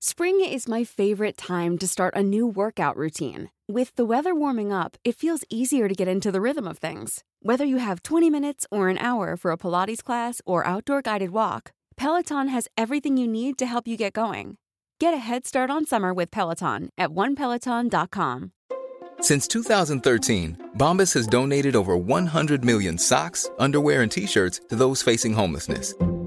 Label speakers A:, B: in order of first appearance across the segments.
A: Spring is my favorite time to start a new workout routine. With the weather warming up, it feels easier to get into the rhythm of things. Whether you have 20 minutes or an hour for a Pilates class or outdoor guided walk, Peloton has everything you need to help you get going. Get a head start on summer with Peloton at onepeloton.com.
B: Since 2013, Bombas has donated over 100 million socks, underwear, and t shirts to those facing homelessness.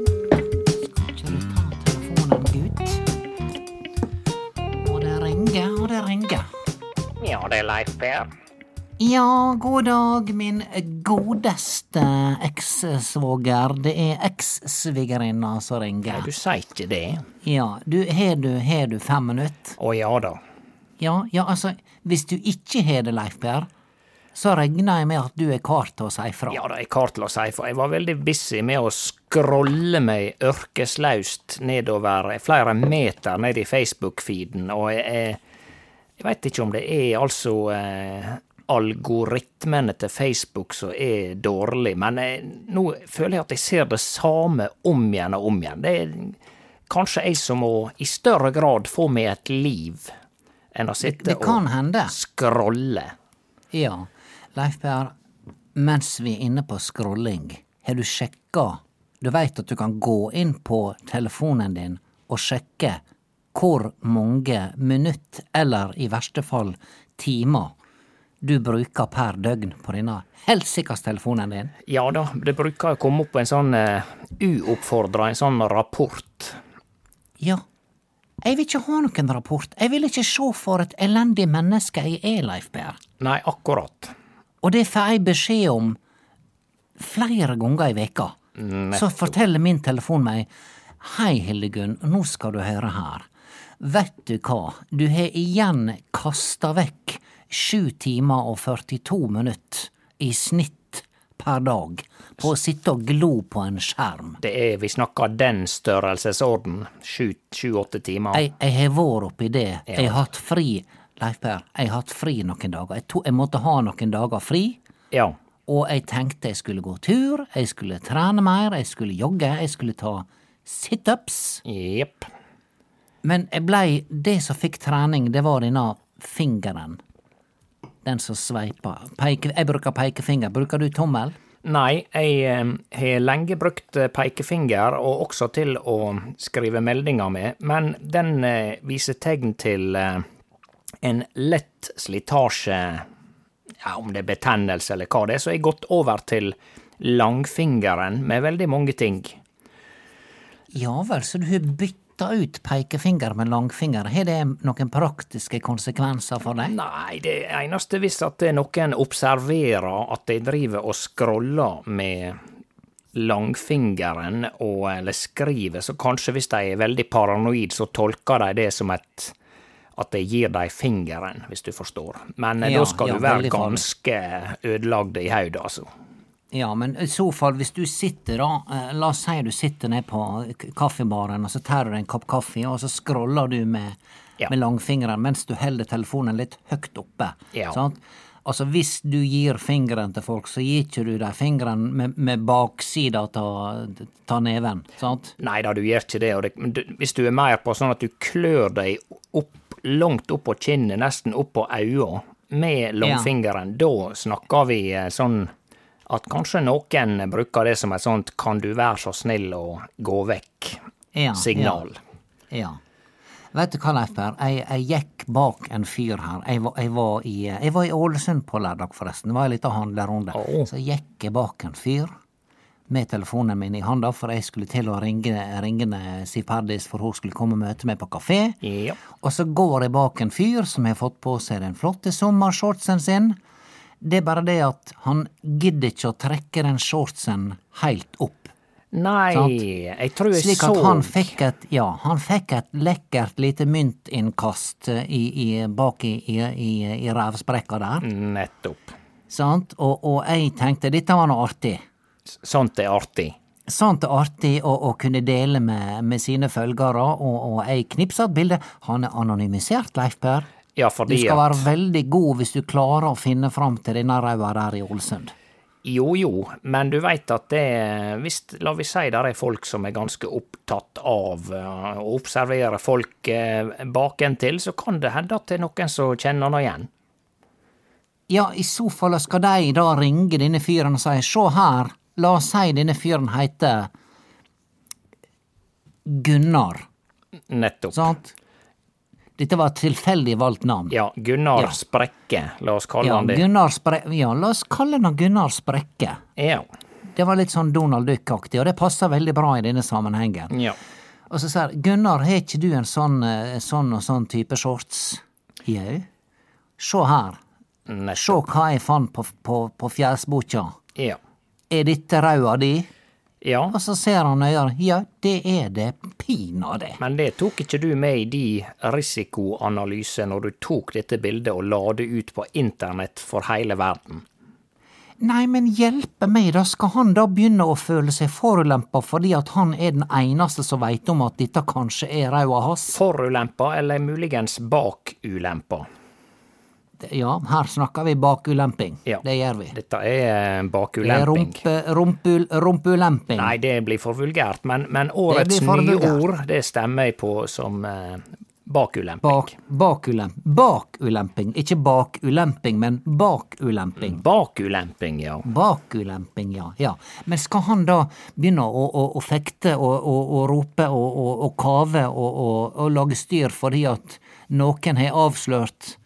C: Skal du ta telefonen, gutt? Og det ringer, og det ringer.
D: Ja, det er Leif Per.
C: Ja, god dag, min godeste ekssvoger. Det er ekssvigerinna som
D: Nei,
C: ringer.
D: du sier ikke det.
C: Ja, du, har du, har du fem minutt?
D: Å ja da.
C: Ja, ja, altså, hvis du ikke har det, Leif Per, så regner jeg med at du er kar til å si fra.
D: Ja da, jeg har til å si, for jeg var veldig busy med å scrolle meg ørkeslaust nedover flere meter ned i Facebook-feeden, og jeg, jeg veit ikke om det er altså eh, algoritmene til Facebook som er dårlig, men eh, nå føler jeg at jeg ser det samme om igjen og om igjen. Det er kanskje jeg som må i større grad få meg et liv enn å sitte
C: det kan
D: og
C: hende.
D: scrolle.
C: Ja, Leif Per, mens vi er inne på scrolling, har du sjekka Du veit at du kan gå inn på telefonen din og sjekke hvor mange minutt, eller i verste fall timer, du bruker per døgn på denne helsikas telefonen din?
D: Ja da, det bruker å komme opp en sånn uh, uoppfordra, en sånn rapport.
C: Ja. Jeg vil ikke ha noen rapport. Jeg vil ikke se for et elendig menneske jeg er, Leif Per.
D: Nei, akkurat.
C: Og det får jeg beskjed om flere ganger i veka. Så forteller min telefon meg Hei, Hildegunn, nå skal du høre her. Vet du hva, du har igjen kasta vekk 7 timer og 42 minutt i snitt per dag på å sitte og glo på en skjerm.
D: Det er, vi snakker den størrelsesorden. Sju-åtte timer.
C: Jeg, jeg har vært oppi det. Jeg har hatt fri, Leif Per, jeg har hatt fri noen dager. Jeg, to, jeg måtte ha noen dager fri.
D: Ja.
C: Og jeg tenkte jeg skulle gå tur, jeg skulle trene mer, jeg skulle jogge, jeg skulle ta situps.
D: Jepp.
C: Men jeg blei Det som fikk trening, det var denne fingeren. Den som sveipa. Peke, jeg bruker pekefinger. Bruker du tommel?
D: Nei, jeg eh, har lenge brukt eh, pekefinger, og også til å skrive meldinger med, men den eh, viser tegn til eh, en lett slitasje, ja, om det er betennelse eller hva det er, så jeg har gått over til langfingeren med veldig mange ting.
C: Ja vel, så du har bytta ut pekefinger med langfinger. Har det noen praktiske konsekvenser for deg?
D: Nei, det eneste hvis at det er noen observerer at jeg driver og scroller med langfingeren og eller skriver, så kanskje hvis de er veldig paranoid, så tolker de det som et at jeg gir dem fingeren, hvis du forstår. Men eh,
C: Ja,
D: da skal
C: ja,
D: du være
C: veldig farlig.
D: ganske ødelagd i hodet, altså.
C: Ja, men i så fall, hvis du sitter da, eh, la oss si du sitter ned på k- kaffebaren, og så tar du deg en kopp kaffe, og så scroller du med,
D: Ja.
C: med langfingeren mens du holder telefonen litt høyt oppe.
D: Ja.
C: Sant? Altså, hvis du gir fingeren til folk, så gir ikke du dem fingeren med, med baksida av neven, sant?
D: Nei da, du gjør ikke det. Og det men du, hvis du er mer på sånn at du klør deg opp langt opp på kinnet, nesten opp på øya, med langfingeren, da snakker vi eh, sånn at kanskje noen bruker det som et sånt 'kan du være så snill å gå
C: Ja,
D: vekk'-signal.
C: Ja. Vet du hva, Leif Per, jeg, jeg gikk bak en fyr her. Jeg var, jeg var, i, jeg var i Ålesund på lørdag, forresten. Det var en liten handlerunde.
D: Å.
C: Så gikk jeg bak en fyr med telefonen min i handa, for jeg skulle til å ringe, ringe Siv Herdis, for hun skulle komme og møte meg på kafé.
D: Ja.
C: Og så går jeg bak en fyr som har fått på seg den flotte sommershortsen sin. Det er bare det at han gidder ikke å trekke den shortsen helt opp.
D: Nei,
C: Sant.
D: jeg tror jeg
C: Slik
D: så
C: at han fikk et, ja, han fikk et lekkert lite myntinnkast eh, i, i, bak i, i, i, i rævsprekka der.
D: Mm. Nettopp.
C: Sant? Og, og jeg tenkte dette var noe artig.
D: S- Sånt er artig.
C: Sant og artig å, å kunne dele med, med sine følgere, og, og jeg knipsa et bilde. Han er anonymisert, Leif Per.
D: Ja,
C: Du
D: fordi
C: skal
D: at
C: være veldig god hvis du klarer å finne fram til denne raua der i Ålesund.
D: Jo, jo, men du veit at det visst, La vi si der er folk som er ganske opptatt av eh, å observere folk eh, bakentil, så kan det hende at det er noen som kjenner han igjen.
C: Ja, i så fall skal de da ringe denne fyren og si sjå her, la oss si denne fyren heter Gunnar,
D: Nettopp.
C: sant? Dette var et tilfeldig valgt navn.
D: Ja, Gunnar
C: Ja.
D: Sprekke, la oss kalle
C: Ja,
D: han det.
C: Gunnar Spre ja, la oss kalle han Gunnar Sprekke.
D: Ja.
C: Det var litt sånn Donald Duck-aktig, og det passer veldig bra i denne sammenhengen.
D: ja.
C: Og så sier jeg, Gunnar, har ikke du en sånn, eh, sånn og sånn type shorts? Jau. Sjå her,
D: Nettopp.
C: sjå hva jeg fant på, på, på fjesbukja.
D: Ja.
C: Er dette raua di?
D: ja.
C: Og så ser han nøyere. Ja, det er det pinadø.
D: Men det tok ikke du med i de risikoanalyse når du tok dette bildet og la det ut på internett for hele verden.
C: Nei, men hjelpe meg, da skal han da begynne å føle seg forulempa fordi at han er den eneste som veit om at dette kanskje er raua hans?
D: Forulempa eller muligens bakulempa?
C: Ja, her snakker vi bakulemping.
D: Ja.
C: Det gjør vi.
D: Dette er eh,
C: Det er
D: bakulemping.
C: rumpe, rumpul, rumpulemping.
D: Nei, det blir for vulgært, men, men årets
C: blir for
D: nye
C: vulgært.
D: ord, det stemmer jeg på som eh, bakulemping.
C: Bak, bakulem, bakulemping. Ikke bakulemping, men bakulemping.
D: Bakulemping, ja.
C: Bakulemping, ja. ja. Men skal han da begynne å, å, å fekte og, og, og rope og, og, og kave og, og, og lage styr fordi at noen har avslørt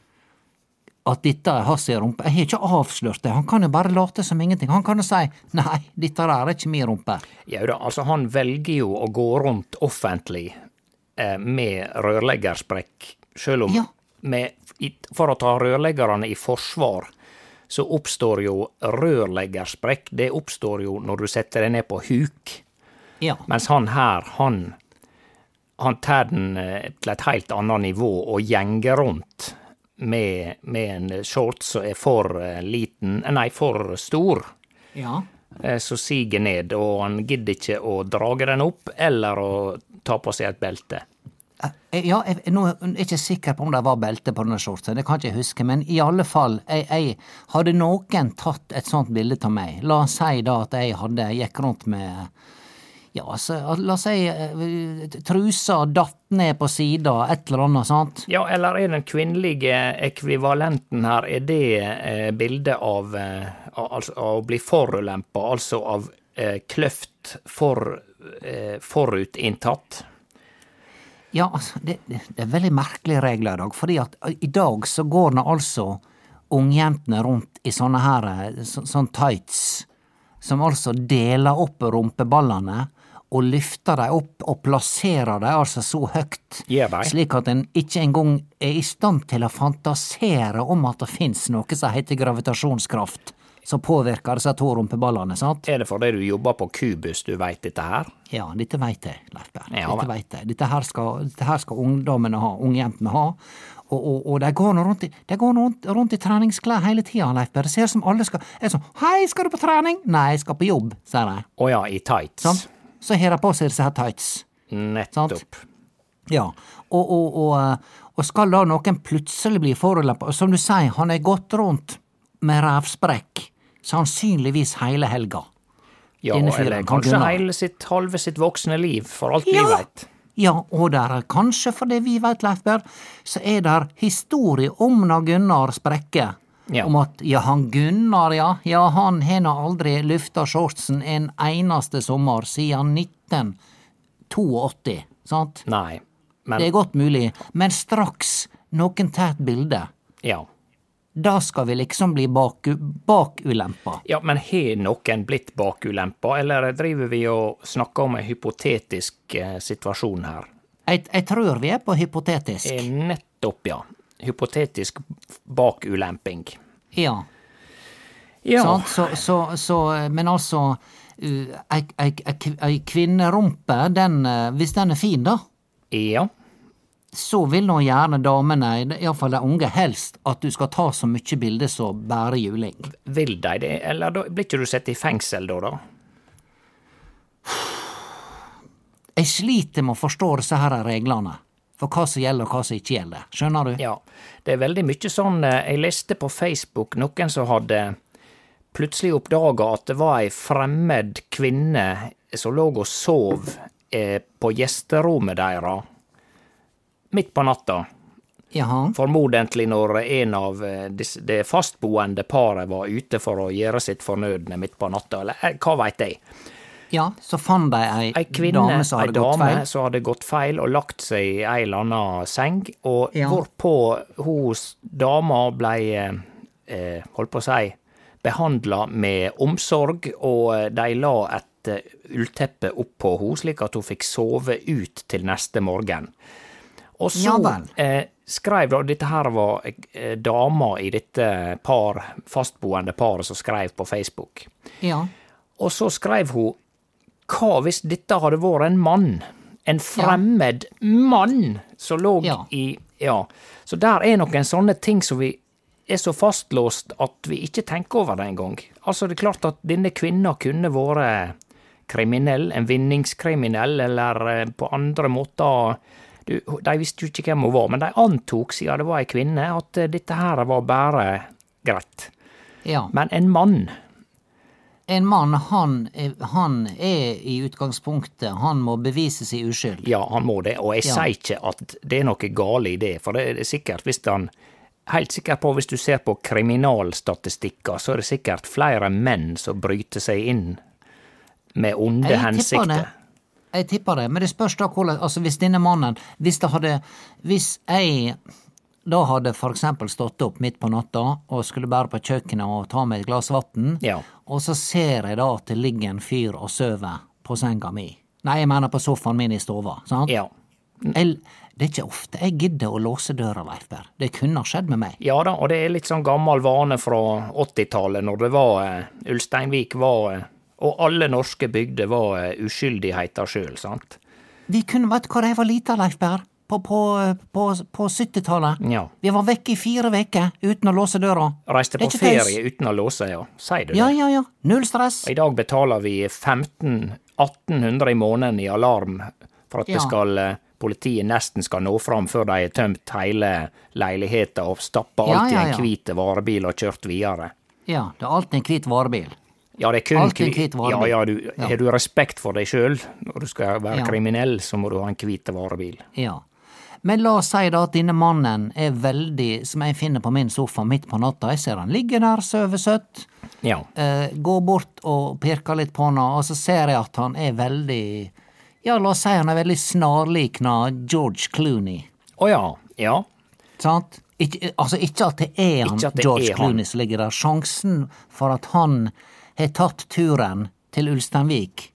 C: at dette er hans rumpe? Jeg har ikke avslørt det, han kan jo bare late som ingenting. Han kan jo si nei, dette der er ikke min rumpe.
D: Ja da, altså han velger jo å gå rundt offentlig eh, med rørleggersprekk, sjøl om
C: Ja.
D: med, i, For å ta rørleggerne i forsvar, så oppstår jo rørleggersprekk Det oppstår jo når du setter deg ned på huk,
C: Ja.
D: mens han her, han han tar den eh, til et helt annet nivå og gjenger rundt med, med en shorts som er for eh, liten Nei, for stor
C: ja.
D: eh, som siger ned, og han gidder ikke å drage den opp eller å ta på seg et belte.
C: Eh, Ja, jeg, nå er jeg ikke sikker på om det var belte på denne skjorten, det kan ikke jeg huske, men i alle fall, jeg, jeg hadde noen tatt et sånt bilde av meg, la oss si da at jeg hadde, gikk rundt med, ja, altså, la oss si, eh, trusa datt ned på sida, et eller annet, sant?
D: Ja, eller er den kvinnelige ekvivalenten her, er det eh, bildet av, eh, al- altså, av å bli forulempa, altså av eh, kløft for, eh, forutinntatt?
C: Ja, altså, det, det det er veldig merkelige regler i dag, fordi at eh, i dag så går nå altså ungjentene rundt i sånne her, eh, så, sånn tights, som altså deler opp rumpeballene, og løfter dem opp og plasserer dem altså så høyt,
D: Gjør de?
C: slik at en ikke engang er i stand til å fantasere om at det finnes noe som heter gravitasjonskraft, som påvirker disse to rumpeballene, sant?
D: Er det fordi du jobber på Kubus du veit dette her?
C: Ja, dette veit jeg, Leif Berr.
D: Ja,
C: dette
D: vel.
C: vet jeg. Dette her skal, dette her skal ungdommene ha, ungjentene ha. Og, og, og de går nå rundt, i- de går nå rundt, rundt i treningsklær hele tida, Leif Berr. Det ser ut som alle skal er sånn 'Hei, skal du på trening?' 'Nei, jeg skal på jobb', sier de.
D: Å ja, i tights.
C: Sant? Så har de på seg disse her tights.
D: Nettopp.
C: Ja, og, og, og, eh, og skal da noen plutselig bli forulempa? Som du sier, han er gått rundt med revsprekk, sannsynligvis hele helga.
D: Ja,
C: Denne fyren,
D: eller
C: han
D: kanskje
C: Gunnar.
D: hele sitt, halve sitt voksne liv, for alt vi
C: Ja.
D: veit.
C: Ja, og der er kanskje, for det vi veit, Leif Berr, så er der historie om na Gunnar Sprekke.
D: Ja.
C: Om at ja, han Gunnar, ja, ja, han har nå aldri lufta shortsen en eneste sommer siden 1982, sant?
D: Nei.
C: Det
D: Men
C: er godt mulig, men straks noen tar et bilde,
D: ja.
C: da skal vi liksom bli baku, bakulempa.
D: ja. Men har noen blitt bakulempa, eller driver vi og snakker om en hypotetisk eh, situasjon her?
C: Jeg, jeg tror vi er på hypotetisk.
D: Eh, Nettopp, ja. Hypotetisk bakulemping.
C: Ja.
D: Ja.
C: Sant? Så, så, så, men altså uh, Ei ei- ei kv- ei kvinnerumpe, den, eh, hvis den er fin, da,
D: Ja.
C: så vil nå gjerne damene, iallfall de unge, helst at du skal ta så mye bilder som bare juling.
D: Vil de det, eller da blir ikke du satt i fengsel da, da?
C: Jeg sliter med å forstå disse her reglene for hva som gjelder og hva som ikke gjelder. Skjønner du?
D: Ja. Det er veldig mye sånn eh, Jeg leste på Facebook noen som hadde plutselig oppdaga at det var ei fremmed kvinne som lå og sov eh, på gjesterommet deira midt på natta.
C: Jaha.
D: Formodentlig når en av eh, dis- det fastboende paret var ute for å gjøre sitt fornødne midt på natta, eller eh, hva veit jeg.
C: Ja, så fant de ei,
D: Ei kvinne,
C: dame som
D: ei
C: hadde gått
D: dame
C: feil.
D: som hadde gått feil og lagt seg i ei eller anna seng, og
C: Ja.
D: hvorpå hun s- dama blei eh, eh, holdt på å si behandla med omsorg, og eh, de la et eh, ullteppe oppå henne, slik at hun fikk sove ut til neste morgen. Og så
C: Ja vel.
D: eh, skrev da Dette her var eh, dama i dette par, fastboende paret som skrev på Facebook.
C: Ja.
D: Og så skreiv hun Hva hvis dette hadde vært en mann? En fremmed mann som lå
C: Ja.
D: i Ja. Så der er noen sånne ting som vi er så fastlåst at vi ikke tenker over det engang. Altså, det er klart at denne kvinna kunne vært kriminell, en vinningskriminell, eller eh, på andre måter du, De visste jo ikke hvem hun var, men de antok, siden det var ei kvinne, at eh, dette her var bare greit.
C: ja.
D: Men en mann
C: En mann, han, er- han er i utgangspunktet Han må bevise sin uskyld.
D: Ja, han må det, og jeg
C: Ja.
D: sier ikke at det er noe gale i det, for det er sikkert hvis han Helt sikker på, hvis du ser på kriminalstatistikker, så er det sikkert flere menn som bryter seg inn med onde
C: Jeg tipper
D: hensikter.
C: det. Jeg tipper det, men det spørs da hvordan Altså, hvis denne mannen Hvis det hadde Hvis jeg da hadde for eksempel stått opp midt på natta og skulle bære på kjøkkenet og ta meg et glass vann,
D: Ja.
C: og så ser jeg da at det ligger en fyr og sover på senga mi. Nei, jeg mener på sofaen min i stova, sant?
D: Ja.
C: Jeg, det er ikke ofte jeg gidder å låse døra, Leif Berr. Det kunne ha skjedd med meg.
D: ja da, og det er litt sånn gammel vane fra 80-tallet, når det var eh, Ulsteinvik var eh, Og alle norske bygder var eh, uskyldigheter sjøl, sant?
C: Vi kunne vært hvor jeg var lita, Leif Berr. På, på, på, på 70-tallet.
D: Ja.
C: Vi var vekke i fire uker uten å låse døra.
D: Reiste
C: Det er
D: på
C: ikke tøys.
D: ferie uten å låse, ja. Sier du det?
C: Ja, ja, ja. Null stress.
D: I dag betaler vi 1500-1800 i måneden i alarm for at
C: Ja.
D: det skal, eh, politiet nesten skal nå fram før de har tømt hele leiligheta og stappa
C: Ja,
D: alt i
C: ja,
D: en
C: ja.
D: hvit varebil og kjørt videre.
C: Ja, det er alltid en hvit varebil.
D: Ja, det er kun
C: Alltid en
D: kvi-
C: hvit varebil.
D: Ja, ja, du,
C: Ja.
D: Har du respekt for deg sjøl når du skal være
C: Ja.
D: kriminell, så må du ha en hvit varebil.
C: Ja. Men la oss si da at denne mannen er veldig, som jeg finner på min sofa midt på natta, jeg ser han ligger der, sover søtt,
D: Ja.
C: eh, går bort og pirker litt på han, og så ser jeg at han er veldig Ja, la oss si han er veldig snarlikna George Clooney.
D: Å ja. Ja.
C: Sant? Ikke, altså ikke at det er han
D: Ikke at det
C: George
D: er han.
C: Clooney som ligger der. Sjansen for at han har tatt turen til Ulsteinvik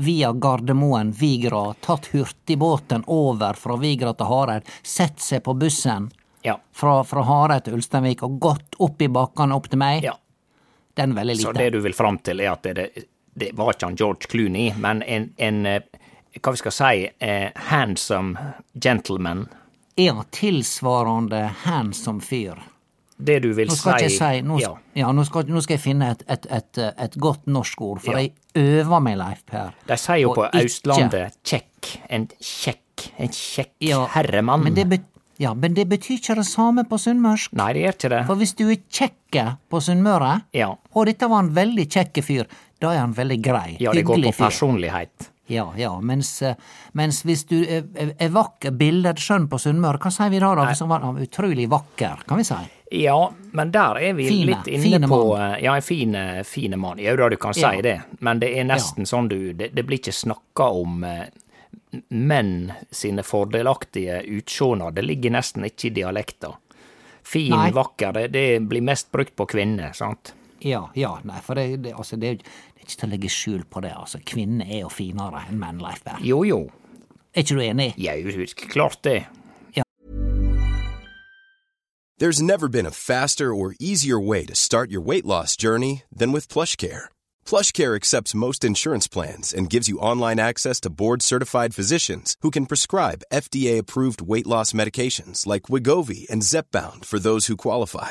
C: via Gardermoen, Vigra, tatt hurtigbåten over fra Vigra til Hareid, sett seg på bussen
D: ja.
C: fra, fra Hareid til Ulsteinvik og gått opp i bakkene opp til meg,
D: ja.
C: den er veldig
D: Så
C: liten.
D: det du vil fram til, er at det, det, det var ikke han George Clooney, men en, en eh, hva vi skal si, eh, handsome gentleman.
C: Er han tilsvarende handsome fyr?
D: Det du vil
C: Nå skal
D: si,
C: ikke jeg si Nå,
D: ja.
C: ja, nå, skal, nå skal jeg finne et, et, et, eh, et godt norsk ord, for
D: Ja.
C: jeg øver meg, Leif Per.
D: De sier jo
C: Og
D: på
C: ikke-
D: Østlandet 'kjekk', en kjekk, en kjekk
C: Ja,
D: herremann.
C: Men det, bet ja, men det betyr ikke det samme på sunnmørsk.
D: Nei, det gjør ikke det.
C: For hvis du er kjekk på Sunnmøre,
D: Ja.
C: og dette var en veldig kjekk fyr, da er han veldig grei.
D: Ja, det går på
C: hyggelig fyr.
D: personlighet.
C: Ja, ja, mens, eh, mens hvis du er, er vakker billedskjønn på Sunnmøre, hva sier vi da? da? Som var han utrolig vakker, kan vi si.
D: Ja, men der er vi
C: Fine,
D: litt inne
C: fine
D: på
C: mann.
D: Ja, en fin, eh, fine mann. Jo da, du kan si
C: Ja.
D: det, men det er nesten sånn du Det, det blir ikke snakka om eh, menn sine fordelaktige utsjåner. Det ligger nesten ikke i dialekta. Fin,
C: Nei.
D: vakker, det, det blir mest brukt på kvinner, sant?
C: Ja, ja, nei, for det, det, altså, det, er jo ikke- det er ikke til å legge skjul på det. altså. Kvinner er jo finere enn menn, Leif Berr.
D: Jo jo,
C: Er ikke du enig?
D: jau, klart det.
E: There's never been a faster or easier way to start your weight loss journey than with PlushCare. PlushCare accepts most insurance plans and gives you online access to board-certified physicians who can prescribe FDA-approved weight loss medications like Wigovi and Zepbound for those who qualify.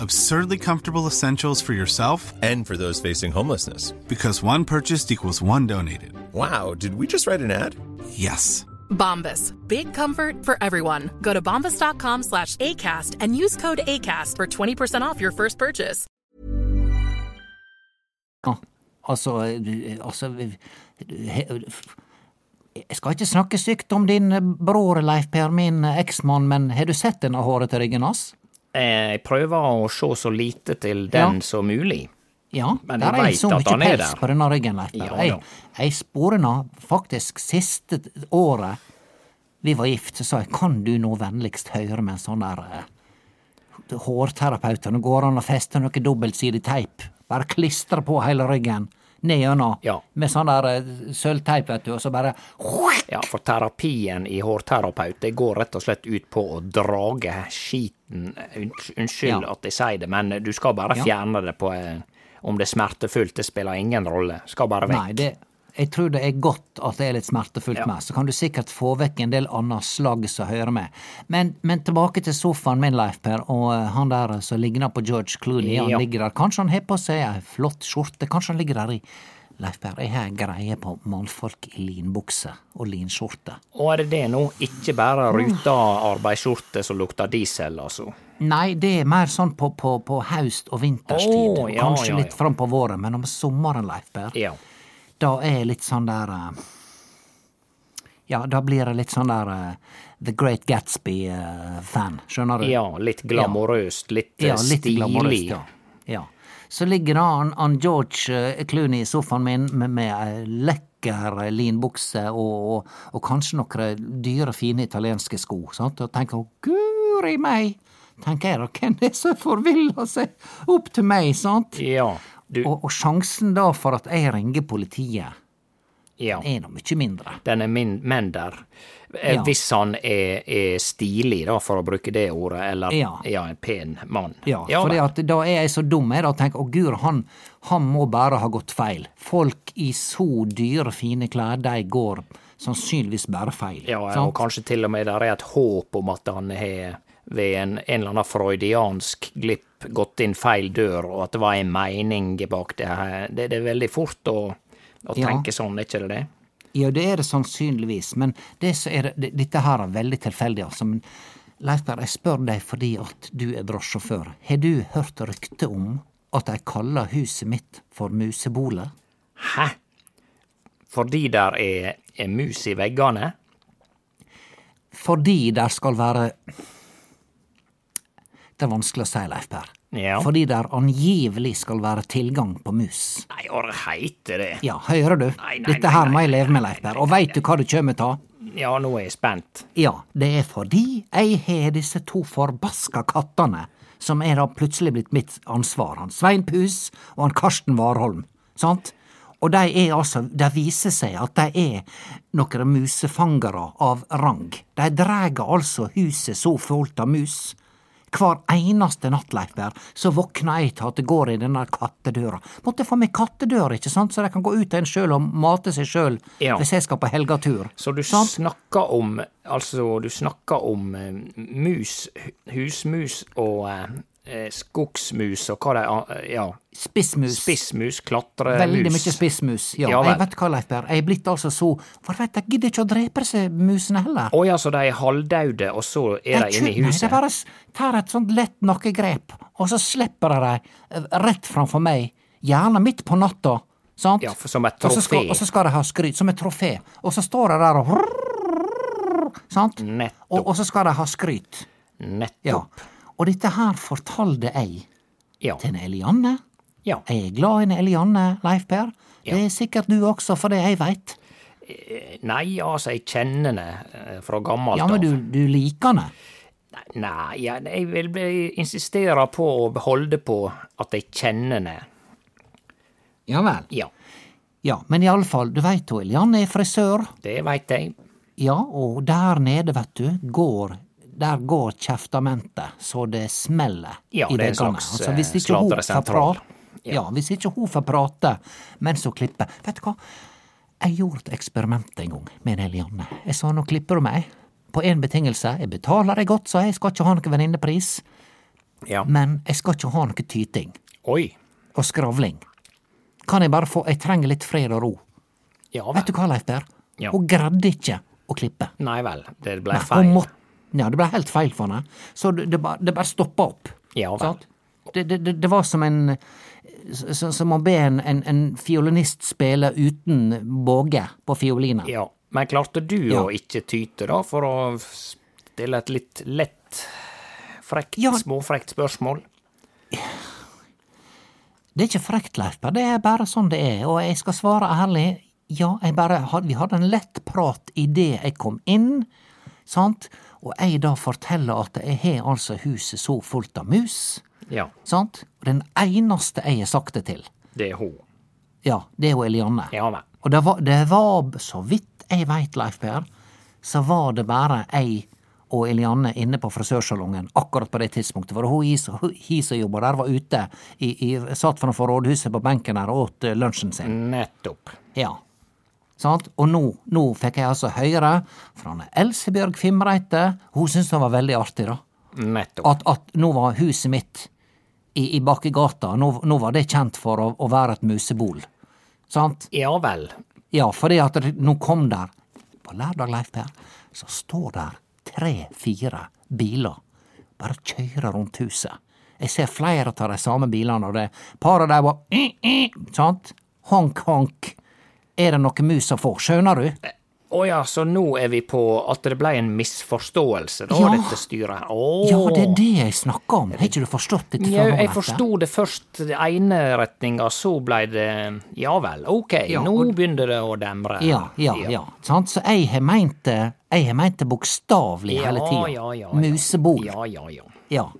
F: Absurdly comfortable essentials for yourself
G: And for those facing homelessness.
F: because one purchased equals one donated.
G: Wow, did we just write an ad?
F: Yes.
H: Bombas. Big comfort for everyone. Go to bombas.com slash ACAST and use code ACAST for 20% off your first purchase.
C: Ja, altså, eh, altså eh, he- Jeg skal ikke snakke stygt om din eh, bror, Leif Per, min eh, eksmann, men har du sett denne hårete ryggen hans?
D: Eh, Jeg prøver å se så lite til den
C: Ja.
D: som mulig.
C: Ja,
D: Men
C: der
D: jeg
C: er
D: vet
C: så
D: at
C: mye
D: han er
C: pels
D: der.
C: på denne ryggen, Leif Per.
D: Ja, ja.
C: Jeg, jeg sporer nå faktisk siste t- året vi var gift, så sa jeg kan du nå vennligst høre med en sånn der eh, hårterapeut, og nå går an å feste noe dobbeltsidig teip, bare klistre på hele ryggen, ned gjennom,
D: Ja.
C: med sånn der eh, sølvteip, vet du, og så bare
D: Ja, for terapien i hårterapeut, det går rett og slett ut på å drage skiten Unns- Unnskyld
C: Ja.
D: at jeg sier det, men du skal bare
C: Ja.
D: fjerne det på eh, Om det er smertefullt, det spiller ingen rolle. Skal bare vekk.
C: Nei, det, jeg tror det er godt at det er litt smertefullt med. Så kan du sikkert få vekk en del annet slagg som hører med. Men, men tilbake til sofaen min, Leif Per, og eh, han der som ligner på George Clooney. Han
D: Ja.
C: ligger der. Kanskje han har på seg ei flott skjorte. Kanskje han ligger der i Leif Per, jeg har greie på mannfolk i linbukse og linskjorte.
D: Og er det det nå? Ikke bare ruta arbeidsskjorte som lukter diesel, altså.
C: Nei, det er mer sånn på, på, på haust- og vinterstid.
D: Å, ja,
C: Kanskje
D: ja,
C: litt
D: ja.
C: fram på våren, men om sommeren, Leif Per
D: Ja.
C: da er jeg litt sånn der eh, Ja, da blir jeg litt sånn der eh, The Great Gatsby-fan, skjønner du?
D: ja litt glamorøst, litt, eh,
C: Ja, litt
D: stilig.
C: glamorøst, ja. ja. Så ligger da han, han George eh, Clooney i sofaen min med, med ei lekker eh, linbukse og, og, og kanskje noen dyre, fine italienske sko, sant? og tenker «Å, guri meg! Tenker jeg da, hvem er det som forviller seg opp til meg, sant?
D: Ja. Du,
C: Og, og sjansen da for at jeg ringer politiet
D: ja.
C: er nå mye mindre.
D: Den er min menn der. Eh,
C: Ja.
D: Hvis han er, er stilig, da, for å bruke det ordet, eller ja.
C: Ja.
D: en pen mann.
C: Ja, for
D: vel.
C: da er jeg så dum jeg da tenker å gud, han, han må bare ha gått feil. Folk i så dyre, fine klær, de går sannsynligvis bare feil.
D: ja, og
C: sant?
D: kanskje til og med der er et håp om at han har ved en, en eller annen freudiansk glipp gått inn feil dør, og at det var en mening bak det her. Det, det er veldig fort å, å
C: Ja.
D: tenke sånn, er ikke det det?
C: Ja, det er det sannsynligvis, men det så er det, det, dette her er veldig tilfeldig, altså. Men Leif Berr, jeg spør deg fordi at du er drosjesjåfør. Har du hørt rykte om at de kaller huset mitt for musebolet?
D: Hæ? Fordi der er, er mus i veggene?
C: Fordi der skal være Det er vanskelig å si, Leif Per.
D: Ja.
C: Fordi der angivelig skal være tilgang på mus.
D: Nei, hva heter det?
C: Ja, hører du?
D: Nei, nei,
C: Dette
D: nei,
C: her må
D: nei,
C: jeg leve med, Leif Per. Og veit du hva du kjem ta?
D: Ja, nå er jeg spent.
C: Ja, det er fordi jeg har disse to forbaska kattene, som er da plutselig blitt mitt ansvar. Han Svein Pus og han Karsten Warholm. Sant? Og de er altså Det viser seg at de er noen musefangere av rang. De drar altså huset så fullt av mus Hver eneste natt, Leif Berr, så våkna jeg til at det går i denne kattedøra. Måtte få meg kattedør, ikke sant, så de kan gå ut av en sjøl og mate seg sjøl
D: Ja.
C: hvis jeg skal på helgatur.
D: Så du snakker om Altså, du snakker om eh, mus, hu- husmus og eh, eh, skogsmus og hva det er Ja.
C: Spissmus.
D: Spissmus, klatremus.
C: Veldig mye spissmus. Ja,
D: Eh, Ja,
C: jeg
D: vel.
C: vet hva, Leif Berr, jeg er blitt altså så For vet du, jeg gidder ikke å drepe disse musene heller.
D: Å ja, så de er halvdaude, og så er de
C: Jeg
D: inne i
C: tror- Nei, de
D: huset?
C: bare s- tar et sånt lett nakkegrep, og så slipper de dem eh, rett framfor meg, gjerne midt på natta, sant?
D: Ja, for som et
C: Og så skal,
D: trofé.
C: og så skal de ha skryt, som et trofé, og så står de der og Sant?
D: Nettopp.
C: Og, og så skal de ha skryt. Ja.
D: Nettopp.
C: Og dette her fortalte jeg
D: Ja.
C: til en Elianne.
D: Ja.
C: Jeg er glad i en Elianne, Leif Per. Det er sikkert du også, for det jeg veit.
D: Nei, altså, jeg kjenner henne eh, fra gammelt
C: Ja, men du, du liker henne.
D: Nei, ja, jeg vil bli- insistere på å beholde på at jeg kjenner henne.
C: Ja vel.
D: Ja,
C: Ja, men iallfall, du veit jo, Elianne er frisør.
D: det veit jeg.
C: Ja, og der nede, vet du, går der går kjeftamentet så det smeller
D: Ja,
C: i
D: det er en
C: veggene.
D: slags,
C: Altså,
D: eh,
C: hvis ikke hun får
D: slatresentral.
C: prate ja. hvis ikke hun får prate mens hun klipper Vet du hva, jeg gjorde et eksperiment en gang med en Elianne. Jeg sa nå klipper du meg, på én betingelse. Jeg betaler deg godt, sa jeg, jeg skal ikke ha noen venninnepris,
D: Ja.
C: men jeg skal ikke ha noe tyting
D: Oi.
C: og skravling. Kan jeg bare få Jeg trenger litt fred og ro.
D: Ja
C: Vet
D: vel.
C: du hva, Leif Per?
D: Ja.
C: Hun greide ikke å klippe.
D: Nei vel, det ble
C: Nei, hun
D: feil.
C: må- ja, det ble helt feil for henne. Så det, det, bare, det bare stoppa opp.
D: Ja vel.
C: Sant? Det, det, det, det var som en s- Som å be en, en, en fiolinist spille uten båge på fiolinen.
D: Ja. Men klarte du
C: Ja.
D: å ikke tyte, da, for å stille et litt lett, frekt,
C: Ja.
D: småfrekt spørsmål?
C: Det er ikke frekt, Leif Per, det er bare sånn det er, og jeg skal svare ærlig. Ja, jeg bare had- vi hadde en lett prat idet jeg kom inn, sant, og jeg da forteller at jeg har altså huset så fullt av mus,
D: Ja,
C: sant, og den eneste jeg har sagt det til,
D: det er hun.
C: ja, det er jo Elianne.
D: Ja vel.
C: Og det var, det var så vidt jeg veit, Leif Per, så var det bare jeg og Elianne inne på frisørsalongen akkurat på det tidspunktet. For hun i- hun- hi som jobba der, var ute, i, i, satt framfor rådhuset på benken her og åt eh, lunsjen sin.
D: Mm. Nettopp.
C: Ja. Sant? Og nå, nå fikk jeg altså høre fra Anne Elsebjørg Fimreite, hun syntes det var veldig artig, da
D: Nettopp.
C: at, at nå var huset mitt i, i Bakkegata, nå, nå var det kjent for å, å være et musebol. Sant?
D: Ja vel.
C: Ja, fordi at det, nå kom der På lørdag, Leif Per, så står der tre-fire biler. Bare kjører rundt huset. Jeg ser flere av de samme bilene, og det paret der var i, i, Sant? Honk, honk. Er det noe mus å få? Skjønner du?
D: Å ja, så nå er vi på at det ble en misforståelse, da,
C: Ja.
D: dette styret her. Å.
C: Ja, det er det jeg snakker om. Har ikke du forstått dette?
D: Jau,
C: før nå,
D: jeg
C: Leif Per?
D: forsto det først den ene retninga, så blei det Ja vel, ok,
C: Ja,
D: nå
C: og-
D: begynner det å demre.
C: Ja, ja, ja. Sant? Så jeg har meint det jeg har meint det bokstavelig hele
D: Ja,
C: tida.
D: ja, ja, ja.
C: Musebol. Ja.
D: Ja, ja, ja.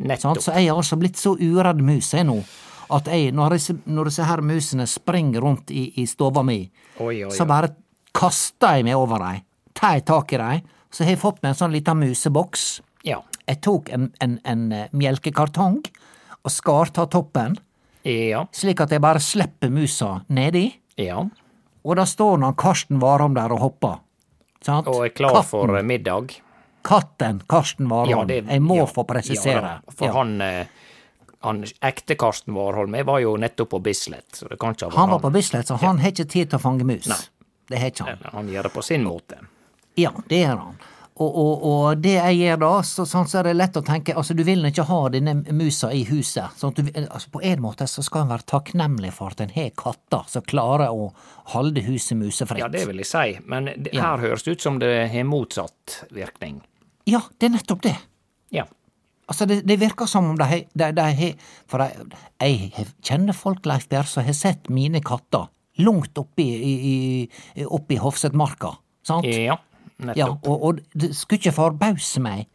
D: Nettopp.
C: Sant? Så jeg har altså blitt så uredd mus jeg nå, at jeg, når, disse, når disse her musene springer rundt i, i stova mi,
D: Oi, oi,
C: så
D: oi.
C: bare kaster jeg meg over dem, tar jeg tak i dem, så har jeg fått meg en sånn lita museboks.
D: Ja.
C: Jeg tok en, en, en eh, melkekartong og skar av toppen,
D: Ja.
C: slik at jeg bare slipper musa nedi.
D: ja.
C: Og da står nå Karsten Warholm der og hopper. Sant?
D: Og er klar
C: katten,
D: for eh, middag.
C: Katten Karsten Warholm.
D: det-
C: jeg må
D: ja.
C: få presisere.
D: Ja, da, for
C: Ja.
D: han eh, han ekte Karsten Warholm jeg var jo nettopp på Bislett, så det kan ikke ha vært
C: han var på Bislett, så han har ikke tid til å fange mus. Det har ikke han.
D: Eller, Han gjør det på sin måte.
C: Ja, det gjør han. Og, og, og det jeg gjør da, så, sånn så er det lett å tenke altså du vil nå ikke ha denne musa i huset. Sånn at du, altså, på en måte så skal en være takknemlig for at en har katter som klarer å holde huset musefritt.
D: Ja, det vil jeg si, men det,
C: Ja.
D: her høres det ut som det har motsatt virkning.
C: ja, det er nettopp det.
D: Ja.
C: Altså, det, det virker som om de har de- de har- For jeg, jeg har- kjenner folk, Leif Berr, som har sett mine katter langt oppi, i, i, oppi Hofsetmarka. Sant?
D: Ja,
C: Ja,
D: nettopp.
C: og, og det skulle ikke forbause meg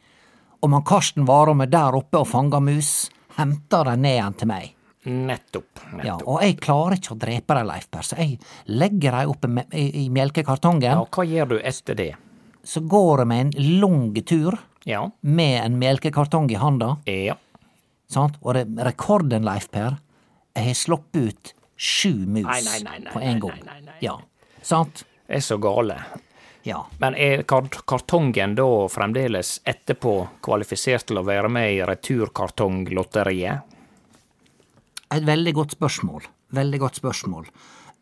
C: om han Karsten Warholm er der oppe og fanger mus, henter dem ned igjen til meg.
D: Nettopp.
C: Ja,
D: nettopp.
C: og jeg klarer ikke å drepe dem, Leif Berr, så jeg legger dem oppi me- i, i melkekartongen.
D: Ja, og hva gjør du etter det?
C: så går jeg med en lang tur
D: Ja.
C: med en melkekartong i handa.
D: Ja.
C: Sant? Og det, rekorden, Leif Per, jeg har sluppet ut sju mus
D: Nei, nei, nei, nei,
C: på en
D: nei,
C: gang.
D: nei, nei, nei.
C: Ja. Sant?
D: Det er så gale.
C: Ja.
D: Men er kart kartongen da fremdeles etterpå kvalifisert til å være med i returkartonglotteriet?
C: Et veldig godt spørsmål. Veldig godt spørsmål.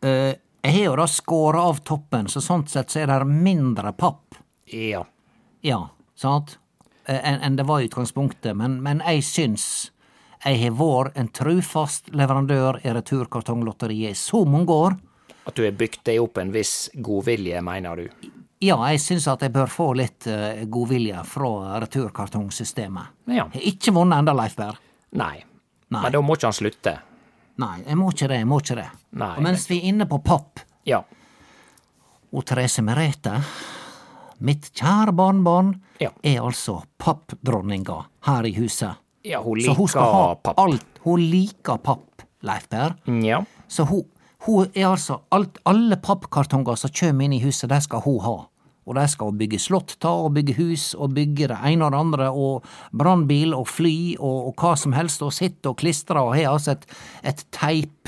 C: Eh, jeg har jo da skåra av toppen, så sånn sett så er det mindre papp.
D: Ja.
C: Ja, sant? Eh, Enn enn det var i utgangspunktet. Men, men jeg syns jeg har vært en trufast leverandør i Returkartonglotteriet i så mange år.
D: At du har bygd deg opp en viss godvilje, mener du?
C: Ja, jeg syns at jeg bør få litt eh, godvilje fra returkartongsystemet.
D: Ja.
C: Jeg har ikke vunnet enda, Leif Berr.
D: Nei.
C: Nei.
D: Men da må ikke han slutte.
C: Nei, jeg må ikke det. jeg må ikke det.
D: Nei.
C: Og mens vi er inne på papp,
D: Ja.
C: og Therese Merete, mitt kjære barnebarn,
D: Ja.
C: er altså pappdronninga her i huset.
D: ja
C: Så
D: hun liker
C: hun skal ha
D: papp.
C: alt. Hun liker papp, Leif Per.
D: Ja.
C: Så hun, hun er altså alt, Alle pappkartonger som kommer inn i huset, de skal hun ha. Og de skal hun bygge slott ta, og bygge hus, og bygge det ene og det andre, og brannbil og fly og, og hva som helst, og sitte og klistre, og har altså et, et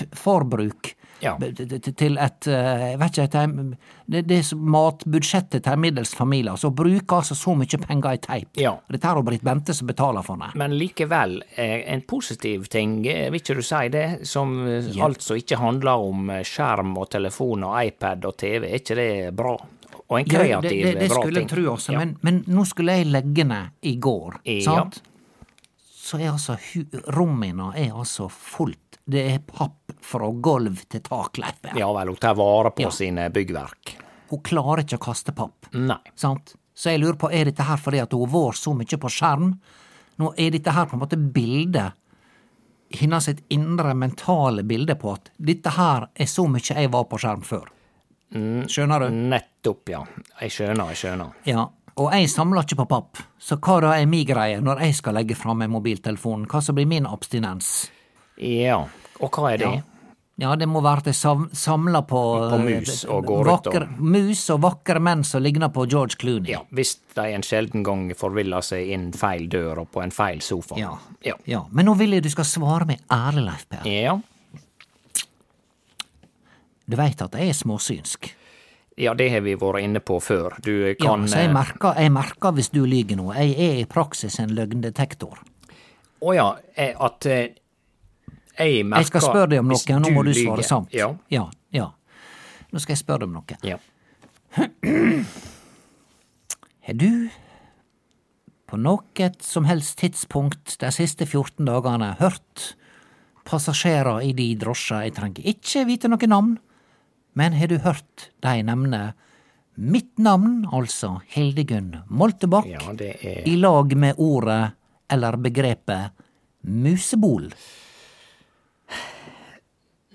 C: teipforbruk.
D: Ja.
C: b- t- t- Til et eh, Jeg vet ikke et, heim- Det, det er så- matbudsjettet til en middels familie. Så bruker altså så mye penger i teip.
D: Ja.
C: Dette er jo Britt Bente som betaler for det.
D: Men likevel, eh, en positiv ting, eh, vil ikke du si det, som eh, alt som ikke handler om eh, skjerm og telefon og iPad og TV, er ikke det bra? Og en
C: Ja,
D: kreativ,
C: det, det, det
D: bra
C: skulle
D: ting.
C: jeg tro også,
D: Ja.
C: men, men nå skulle jeg legge ned i går,
D: Ja.
C: sant? Så er altså hu- rommene er altså fullt. Det er papp fra gulv til tak, Leif Berr.
D: Ja vel, hun tar vare på
C: Ja.
D: sine byggverk.
C: Hun klarer ikke å kaste papp,
D: Nei.
C: sant? Så jeg lurer på, er dette her fordi at hun har vært så mye på skjerm? Nå er dette her på en måte bildet, hennes sitt indre mentale bilde på at dette her er så mye jeg var på skjerm før.
D: Mm,
C: Skjønner du?
D: Nettopp, ja. Jeg skjønner, jeg skjønner.
C: Ja, og jeg samler ikke på papp, så hva da er mi greie når jeg skal legge fram en mobiltelefon, hva som blir min abstinens?
D: Ja. Og hva er det?
C: Ja, det må være at jeg sam- samler på,
D: På mus og går ut og-
C: vakre, Mus og vakre menn som ligner på George Clooney.
D: Ja, hvis de en sjelden gang forviller seg inn feil dør og på en feil sofa.
C: Ja.
D: Ja.
C: Ja, Men nå vil jeg du skal svare meg ærlig, Leif Per.
D: ja.
C: Du veit at jeg er småsynsk.
D: Ja, det har vi vært inne på før. Du
C: Ja,
D: kan
C: så jeg
D: eh,
C: merker, jeg merker hvis du lyver nå. Jeg er i praksis en løgndetektor.
D: Å ja, eh, at eh, jeg merker
C: Jeg skal spørre deg om
D: hvis
C: noe, og nå må du
D: lyger.
C: svare sant.
D: Ja.
C: ja, ja. Nå skal jeg spørre deg om noe.
D: ja.
C: Har du på noe som helst tidspunkt de siste 14 dagene hørt passasjerer i de drosja? Jeg trenger ikke vite noe navn, men har du hørt de nevne mitt navn, altså Hildegunn Moltebakk,
D: ja, det er
C: i lag med ordet eller begrepet musebol?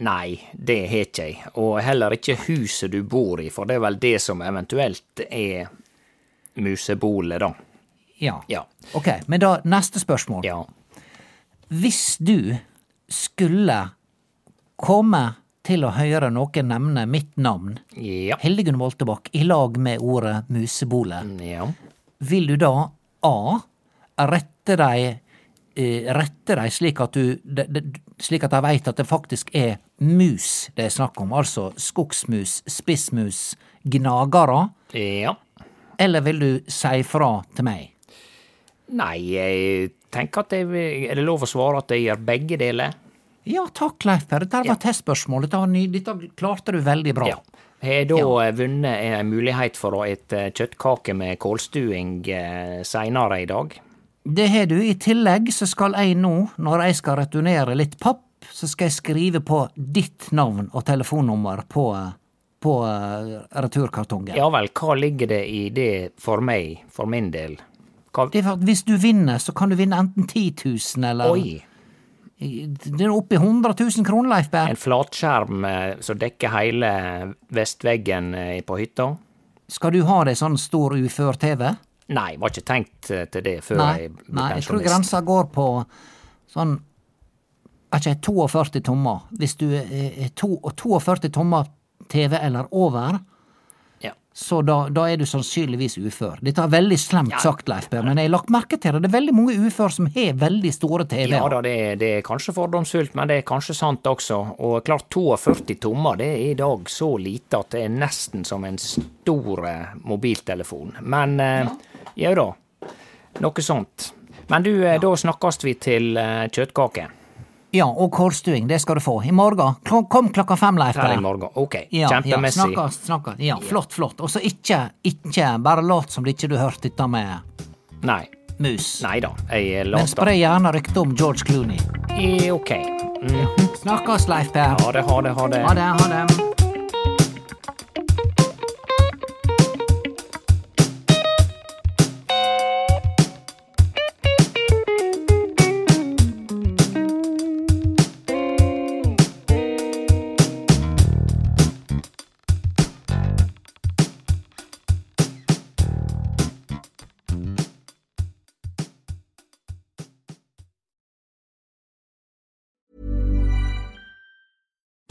D: Nei, det har ikke jeg. Og heller ikke huset du bor i, for det er vel det som eventuelt er musebolet, da.
C: Ja.
D: Ja.
C: Ok, men da neste spørsmål.
D: Ja.
C: Hvis du skulle komme til å høre noen nevne mitt navn,
D: Ja.
C: Hildegunn Moltebakk i lag med ordet musebole,
D: ja.
C: vil du da A. rette deg eh, Rette deg slik at du de, de, Slik at de veit at det faktisk er mus det er snakk om, altså skogsmus, spissmus, gnagere,
D: Ja.
C: eller vil du si fra til meg?
D: Nei, jeg tenker at jeg vil- Er det lov å svare at jeg gjør begge deler?
C: Ja takk, Leif Per, dette var testspørsmålet. Dette var ny- Dette klarte du veldig bra.
D: Ja. Har jeg da eh, vunnet en mulighet for å ete eh, kjøttkake med kålstuing eh, seinere i dag?
C: Det har du. I tillegg så skal jeg nå, når jeg skal returnere litt papp, så skal jeg skrive på ditt navn og telefonnummer på, eh, på eh, returkartongen.
D: Ja vel, hva ligger det i det for meg, for min del? Hva...
C: Det er for at hvis du vinner, så kan du vinne enten 10 000 eller
D: Oi,
C: Det er oppe i 100 000 kroner, Leif Berr.
D: en flatskjerm eh, som dekker hele vestveggen eh, på hytta?
C: Skal du ha deg sånn stor ufør-TV?
D: Nei, var ikke tenkt eh, til det før
C: Nei,
D: jeg ble
C: nei, jeg tror
D: pensjonist.
C: grensa går på sånn er ikke jeg, 42 tommer. Hvis du er er to- 42 tommer TV eller over,
D: Ja.
C: Så da, da er du sannsynligvis ufør. Dette er veldig slemt sagt, Leif Per, men jeg har lagt merke til det. Det er veldig mange ufør som har veldig store TV-er.
D: Ja da, det er, det er kanskje fordomsfullt, men det er kanskje sant også. Og klart 42 tommer det er i dag så lite at det er nesten som en stor eh, mobiltelefon. Men eh, jau da, noe sånt. Men du, eh, da snakkes vi til eh, kjøttkake.
C: Ja, og kålstuing, det skal du få. I morgen. Kl- Kom klokka fem, Leif.
D: Her i
C: Berre.
D: morgen. Ok,
C: Ja, ja,
D: kjempemessig.
C: snakkes, snakkes. Ja, flott, flott. Og så ikke, ikke bare lat som det ikke du hørte dette med
D: Nei.
C: mus.
D: Nei da, jeg
C: Men
D: later.
C: spre gjerne rykte om George Clooney.
D: Eh, Ok. Mm.
C: Snakkes, Leif Per.
D: Ha det, ha det, ha det.
C: Ha det, ha det.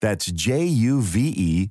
I: That's J U V E